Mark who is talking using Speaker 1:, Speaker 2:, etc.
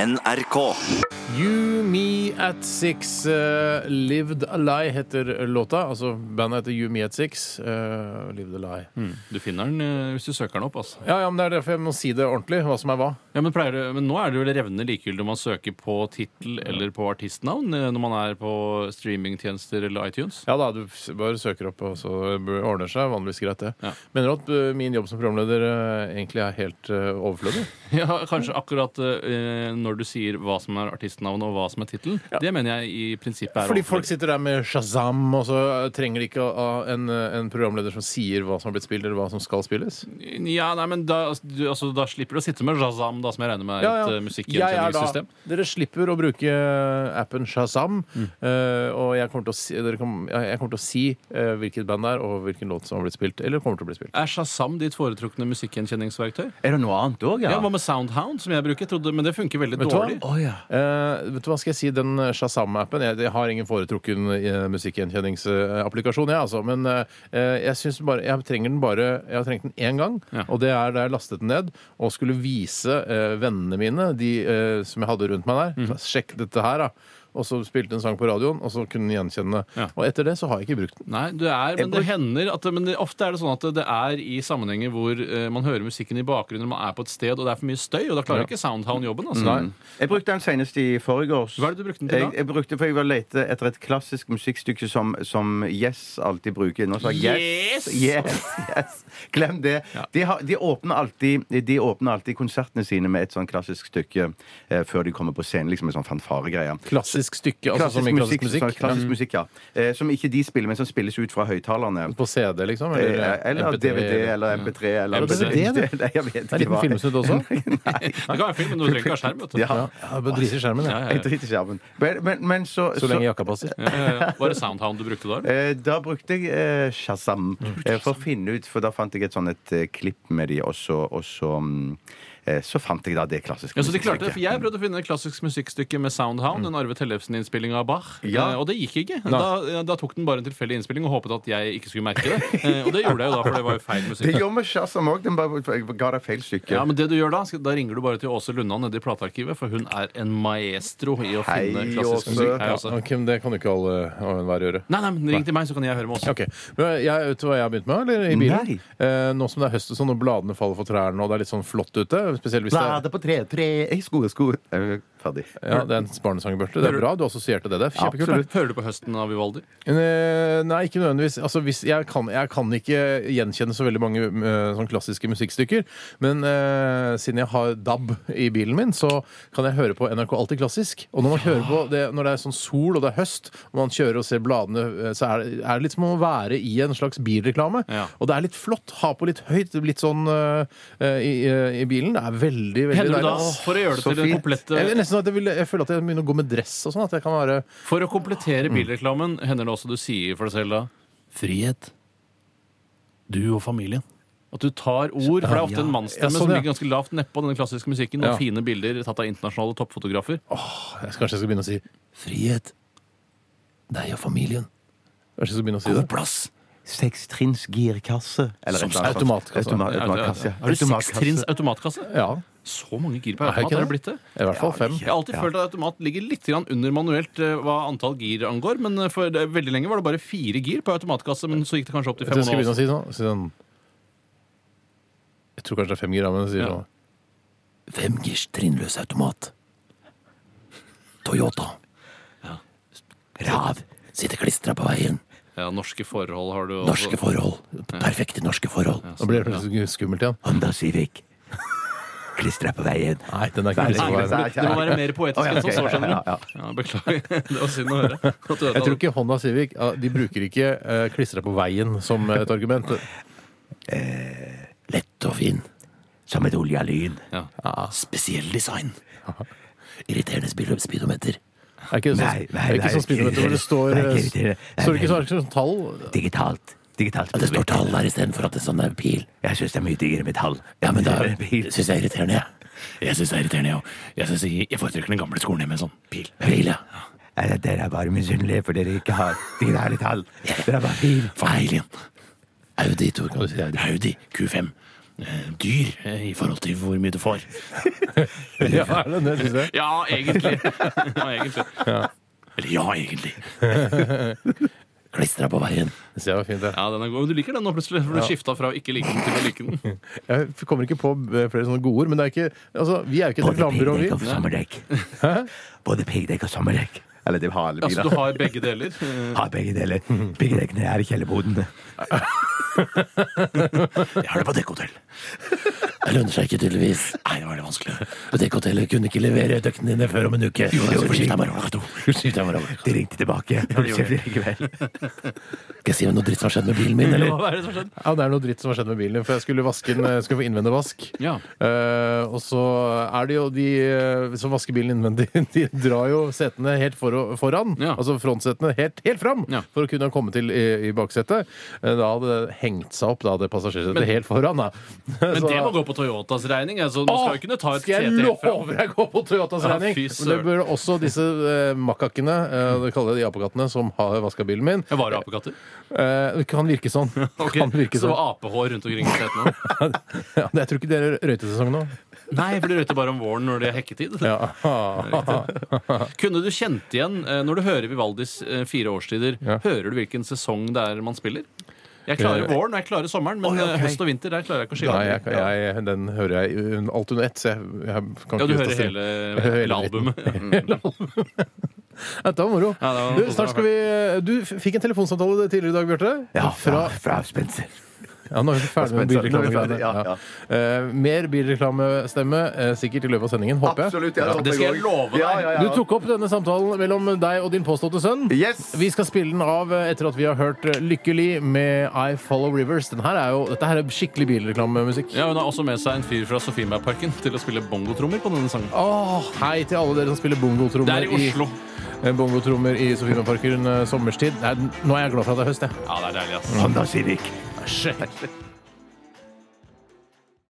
Speaker 1: NRK.
Speaker 2: You Me At Six. eh, Lived A Lie heter låta. Altså Bandet heter You Me At Six. eh, Lived A Lie.
Speaker 3: Du finner den eh, hvis du søker den opp. Altså.
Speaker 2: Ja, ja, men Det er derfor jeg må si det ordentlig. Hva som er hva.
Speaker 3: Ja, men, pleier, det- men nå er det jo revnende likegyldig om man søker på tittel eller på artistnavn eh, når man er på streamingtjenester eller iTunes.
Speaker 2: Ja da, du s- bare søker opp, og så b- ordner seg vanligvis greit, det.
Speaker 3: Ja.
Speaker 2: Mener du at eh, min jobb som programleder eh, egentlig er helt eh, overflødig?
Speaker 3: Ja, Kanskje akkurat eh, når du sier hva som er artistnavn og hva som er tittelen. Det mener jeg i prinsippet er
Speaker 2: Fordi
Speaker 3: overflødig.
Speaker 2: folk sitter der med Shazam, og så eh, trenger de ikke å- å- en, eh, en programleder som sier hva som har blitt spilt, eller hva som skal spilles.
Speaker 3: Ja, nei, men da, du, altså, da slipper du å sitte med Shazam, da, som jeg regner med er et eh, musikkgjenkjenningssystem.
Speaker 2: Dere slipper å bruke appen Shazam,
Speaker 3: Mm.
Speaker 2: eh, og jeg kommer til å si, dere kom, ja, jeg kommer til å si eh, hvilket band det er, og hvilken låt som har blitt spilt, eller kommer til å bli spilt.
Speaker 3: Er Shazam ditt foretrukne musikkgjenkjenningsverktøy?
Speaker 4: Er det noe annet òg,
Speaker 3: Ja.
Speaker 4: ja?
Speaker 3: Hva med Soundhound, som jeg bruker? Jeg Trodde, men det funker veldig
Speaker 2: Vet du hva?
Speaker 3: dårlig.
Speaker 4: Å, ja.
Speaker 2: Eh, vet du hva skal jeg si? Den Shazam-appen jeg, jeg har ingen foretrukken eh, musikkgjenkjenningsapplikasjon, jeg, altså. Men eh, jeg, synes bare, jeg trenger den bare Jeg har trengt den én gang,
Speaker 3: Ja.
Speaker 2: og det er da jeg lastet den ned og skulle vise eh, vennene mine, de eh, som jeg hadde rundt meg der, sjekk dette her, da. Og så spilte en sang på radioen, og så kunne den gjenkjenne.
Speaker 3: Ja.
Speaker 2: Og etter det så har jeg ikke brukt den.
Speaker 3: Nei, det er, men det
Speaker 2: Jeg
Speaker 3: hender at det, men det, ofte er det sånn at det er i sammenhenger hvor eh, man hører musikken i bakgrunnen, man er på et sted, og det er for mye støy, og da klarer
Speaker 2: Ja. Mm.
Speaker 3: ikke Soundhound jobben. Altså.
Speaker 2: Nei.
Speaker 4: Mm. Jeg brukte den senest i forgårs.
Speaker 3: Hva er det du brukte den til
Speaker 4: Jeg,
Speaker 3: da?
Speaker 4: jeg brukte, for jeg var lete etter et klassisk musikkstykke som, som Yes alltid bruker. Nå sa jeg yes!
Speaker 3: Yes!
Speaker 4: Yes! yes. Glem det. De, har, de, åpner alltid, de åpner alltid konsertene sine med et sånn klassisk stykke eh, før de kommer på scenen. liksom en sånn fanfaregreie.
Speaker 2: Klassisk stykke, altså
Speaker 4: Klassisk
Speaker 2: som i klassisk
Speaker 4: musikk,
Speaker 2: musikk.
Speaker 4: sånn klassisk
Speaker 2: Ja.
Speaker 4: musikk ja. Eh, som ikke de spiller, men som spilles ut fra høyttalerne.
Speaker 2: På CD, liksom?
Speaker 4: Eh, Eller
Speaker 2: MP3,
Speaker 4: DVD eller MP3.
Speaker 3: Er
Speaker 4: Eller
Speaker 3: det
Speaker 2: DVD, det?
Speaker 4: Nei, jeg vet
Speaker 2: Det er en
Speaker 4: ikke
Speaker 2: liten
Speaker 4: hva.
Speaker 2: filmsnutt også.
Speaker 4: Nei.
Speaker 3: Det kan være film, men du trenger ikke ha skjerm. Vet du.
Speaker 2: Ja, ja, bare drit i skjermen,
Speaker 3: Ja,
Speaker 2: ja.
Speaker 3: ja,
Speaker 4: Jeg
Speaker 3: ja.
Speaker 4: driter i skjermen. Men, men, men så,
Speaker 2: Så lenge jakka passer.
Speaker 3: Ja, ja, ja. Eh, Var det Soundhound du brukte da? eller?
Speaker 4: Eh, Da brukte jeg eh, Shazam
Speaker 3: Mm.
Speaker 4: eh, for å finne ut, for da fant jeg et sånn et eh, klipp med de, og så, og så, mm, eh, så fant jeg da det klassiske
Speaker 3: Ja, så de klarte det,
Speaker 4: musikkstykket.
Speaker 3: for Jeg prøvde å finne et klassisk musikkstykke med Soundhound, en Arve Tellefsen-innspilling av Bach,
Speaker 4: Ja.
Speaker 3: eh, og det gikk ikke. Da, da tok den bare en tilfeldig innspilling og håpet at jeg ikke skulle merke det. Eh, Og det gjorde jeg jo da, for det var jo feil
Speaker 4: Det
Speaker 3: musikk.
Speaker 4: gjorde med Shazam òg. Den bare jeg ga deg feil stykke.
Speaker 3: Ja, men det du gjør Da skal- da ringer du bare til Åse Lundan nede i platearkivet, for hun er en maestro i å
Speaker 4: Hei,
Speaker 3: finne klassisk
Speaker 4: Åse.
Speaker 3: musikk. Hei,
Speaker 2: Ja,
Speaker 3: Åse.
Speaker 2: ok, men det kan jo ikke alle og enhver gjøre.
Speaker 3: Nei, nei, men Ring til meg, så kan jeg høre med Åse.
Speaker 2: Ok, men jeg, Vet du hva jeg har begynt med? eller i bilen?
Speaker 4: Nei.
Speaker 2: Eh, nå som det er høst og sånn, og bladene faller for trærne, og det er litt sånn flott ute spesielt hvis det er,
Speaker 4: Bladet på tre, tre i sko, sko. Eh, Ferdig.
Speaker 2: ja, det er en barnesangbørste. Det er bra. Du assosierte det. Det er kjempekult. det.
Speaker 3: Absolutt. Hører du på høsten av Vivaldi?
Speaker 2: Eh, Nei, ikke nødvendigvis. Altså, hvis jeg, kan, jeg kan ikke gjenkjenne så veldig mange eh, sånn klassiske musikkstykker. Men eh, siden jeg har DAB i bilen min, så kan jeg høre på NRK Alltid Klassisk. Og når man hører på det når det er sånn sol og det er høst, og man kjører og ser bladene, eh, så er det, er det litt som å være i en slags bilreklame.
Speaker 3: Ja.
Speaker 2: Og det er litt flott. Ha på litt høyt, litt sånn eh, i, eh, i bilen. Det er veldig, veldig
Speaker 3: Hender du da,
Speaker 2: deilig.
Speaker 3: for å gjøre det
Speaker 4: så
Speaker 3: til den
Speaker 4: fint.
Speaker 2: Jeg,
Speaker 3: komplette
Speaker 2: nesten at jeg, vil, jeg føler at jeg begynner å gå med dress og sånn. At jeg kan være
Speaker 3: For å komplettere
Speaker 2: Mm.
Speaker 3: bilreklamen, hender det også du sier for deg selv da Frihet. Du og familien. At du tar ord, for det er ofte en
Speaker 2: Ja,
Speaker 3: mannsstemme
Speaker 2: sånn,
Speaker 3: som
Speaker 2: ja.
Speaker 3: ligger ganske lavt nedpå den klassiske musikken, og
Speaker 2: Ja.
Speaker 3: fine bilder tatt av internasjonale toppfotografer.
Speaker 2: Jeg skal- Kanskje jeg skal begynne å si Frihet, deg og familien. Kanskje jeg skal begynne å si det?
Speaker 3: Plass!
Speaker 4: Sekstrins girkasse. Eller
Speaker 2: Som
Speaker 4: et eller annet
Speaker 2: automatkasse.
Speaker 4: sånt. Automa- automatkasse.
Speaker 3: Har du sekstrins automatkasse?
Speaker 2: Ja.
Speaker 3: Så mange gir på
Speaker 2: Er det
Speaker 3: automat
Speaker 2: ikke
Speaker 3: har det
Speaker 2: det?
Speaker 3: blitt det.
Speaker 2: I hvert fall fem.
Speaker 3: Jeg har alltid følt at automat ligger litt grann under manuelt eh, hva antall gir angår, men eh, for det- veldig lenge var det bare fire gir på automatkasse, men så gikk det kanskje opp til
Speaker 2: Jeg tror
Speaker 3: fem
Speaker 2: jeg skal
Speaker 3: og
Speaker 2: begynne å si
Speaker 3: en halv.
Speaker 2: sånn, si sånn Jeg tror kanskje det er fem gir, ja, men jeg sier
Speaker 3: Ja.
Speaker 2: sånn Femgirs trinnløs automat. Toyota. Rav. Sitter klistra på veien.
Speaker 3: Ja, norske forhold har du også.
Speaker 2: forhold. Perfekte norske forhold. Nå blir det plutselig skummelt igjen.
Speaker 4: Honda Civic. Klistra på veien.
Speaker 2: Nei, den er ikke
Speaker 4: Nei,
Speaker 2: klistra på
Speaker 4: nei,
Speaker 2: veien.
Speaker 4: nei.
Speaker 3: Det må være mer poetisk
Speaker 4: Å, ja,
Speaker 3: enn som
Speaker 4: ok,
Speaker 3: så, skjønner
Speaker 4: ja, ja,
Speaker 3: du. Ja, beklager. Det var synd å høre. at du
Speaker 2: Jeg tror
Speaker 3: ødela det.
Speaker 2: ikke Honda Civic ja, De bruker ikke eh, klistra på veien som et argument.
Speaker 4: Lett og fin. Som et olja lyn.
Speaker 3: Ja.
Speaker 4: Spesiell design. Irriterende speedometer.
Speaker 2: Er ikke det sånn,
Speaker 4: Nei, nei,
Speaker 2: er ikke
Speaker 4: nei,
Speaker 2: sånn speedometer hvor det står
Speaker 4: nei,
Speaker 2: eh,
Speaker 4: ikke irriterende. Nei,
Speaker 2: Står det ikke
Speaker 4: nei.
Speaker 2: sånn, sånn tall?
Speaker 4: Digitalt. Digitalt. At det står tall der istedenfor at det sånn er pil. Jeg syns det er mye diggere med tall. Ja, men da syns jeg er irriterende, jeg.
Speaker 5: Jeg syns det er irriterende, jeg òg. Jeg, synes jeg jeg foretrekker den gamle skolen med sånn pil.
Speaker 4: Pil, ja. Nei, det- Dere er bare misunnelige for dere ikke har digitale tall. Dere er bare pil.
Speaker 5: Feil igjen. Audi, Tor, kan du si. Audi Q5. eh, dyr eh, i forhold til hvor mye du får.
Speaker 2: Ja, er det det, synes jeg?
Speaker 3: Ja, egentlig. Ja, egentlig.
Speaker 5: Eller ja, egentlig. Klistra på veien.
Speaker 2: Det ser jeg var fint, det.
Speaker 3: Ja, den er god. Men du liker den nå plutselig, for du skifta fra å ikke like den til å like den.
Speaker 2: Jeg kommer ikke på eh, flere sånne gode ord, men det er ikke altså, Vi er jo ikke et
Speaker 1: Både
Speaker 2: reklamebyrå, vi.
Speaker 1: piggdekk og sommerdekk. Både piggdekk og sommerdekk.
Speaker 4: Eller det har alle
Speaker 3: Altså,
Speaker 4: biler.
Speaker 3: du har begge deler. Eh,
Speaker 1: Har begge deler. Piggdekkene er i kjellerboden.
Speaker 5: Jeg har det på dekkhotell. Det lønner seg ikke, tydeligvis. Nei, det var det vanskelig. Og dekkhotellet kunne ikke levere døkkene dine før om en uke. Jo, det var for skyte meg over klokka to. Skyte meg over klokka to.
Speaker 1: De ringte tilbake. Når du ser det likevel.
Speaker 5: Skal jeg si om noe dritt som har skjedd med bilen min, eller?
Speaker 3: Hva er det som har skjedd?
Speaker 2: Ja, Det er noe dritt som har skjedd med bilen din. For jeg skulle vaske den, jeg skulle få innvendig vask.
Speaker 3: Ja.
Speaker 2: Eh, og så er det jo de eh, som vasker bilen innvendig, de drar jo setene helt for, foran.
Speaker 3: Ja.
Speaker 2: Altså frontsetene helt, helt fram
Speaker 3: Ja.
Speaker 2: for å kunne komme til i, i baksetet. Eh, Da hadde det hengt seg opp, da, det passasjersetet
Speaker 3: Men-
Speaker 2: helt foran. Da.
Speaker 3: Men det må gå på Toyotas regning. Altså, du skal jo kunne ta et
Speaker 2: skal jeg
Speaker 3: sete helt fra.
Speaker 2: love deg å gå på Toyotas
Speaker 3: Ja,
Speaker 2: regning!
Speaker 3: fy
Speaker 2: Men det
Speaker 3: søren.
Speaker 2: burde også disse eh, makkakene, eh, det kaller jeg de apekattene, som har vaska bilen min.
Speaker 3: Jeg var jo apekatter.
Speaker 2: Eh, det kan virke sånn.
Speaker 3: Ok,
Speaker 2: Kan virke
Speaker 3: Så det
Speaker 2: sånn.
Speaker 3: var apehår rundt omkring i setene.
Speaker 2: Ja, jeg tror ikke det er røytesesong nå.
Speaker 3: Nei, for de røyter bare om våren når det er hekketid.
Speaker 2: Ja.
Speaker 3: Kunne du kjent igjen, eh, når du hører Vivaldis eh, fire årstider,
Speaker 2: Ja.
Speaker 3: hører du hvilken sesong det er man spiller? Jeg klarer
Speaker 2: Eh,
Speaker 3: våren og jeg klarer sommeren, men eh, høst og vinter der klarer jeg ikke å skille.
Speaker 2: Nei, jeg, kan- jeg, den hører jeg un- alt under ett, så jeg, jeg kan
Speaker 3: ja, du
Speaker 2: ikke
Speaker 3: hører
Speaker 2: ta stilling.
Speaker 3: hele,
Speaker 2: Jeg hører hele
Speaker 3: hele albumet.
Speaker 2: Dette var moro.
Speaker 3: Ja, det var-
Speaker 2: du, snart skal vi, du f- fikk en telefonsamtale tidligere i dag, Bjarte.
Speaker 1: Ja, fra,
Speaker 2: Fra,
Speaker 1: fra Spencer.
Speaker 2: ja, nå er vi ferdig med
Speaker 4: Spencer. Nå er vi
Speaker 2: bilreklamegreiene.
Speaker 4: ferdig, ja, ja.
Speaker 2: Eh, mer bilreklamestemme eh, sikkert i løpet av sendingen, håper jeg.
Speaker 4: Absolutt. Ja,
Speaker 3: Det skal jeg love deg.
Speaker 4: Ja, ja, ja.
Speaker 2: Du tok opp denne samtalen mellom deg og din påståtte sønn.
Speaker 4: Yes.
Speaker 2: Vi skal spille den av eh, etter at vi har hørt eh, 'Lykkelig' med I Follow Rivers. Den her er jo, dette her er skikkelig bilreklamemusikk.
Speaker 3: Ja, hun har også med seg en fyr fra Sofienbergparken til å spille bongotrommer på denne sangen.
Speaker 2: Åh, hei til alle dere som spiller bongotrommer
Speaker 3: Det er i Oslo.
Speaker 2: Eh, Bongotrommer i eh, Sofiemarken sommerstid. Nei, nå er jeg glad for at det er høst, jeg.
Speaker 3: Ja, det er deilig, ass.
Speaker 1: Honda Civic.
Speaker 2: Shit.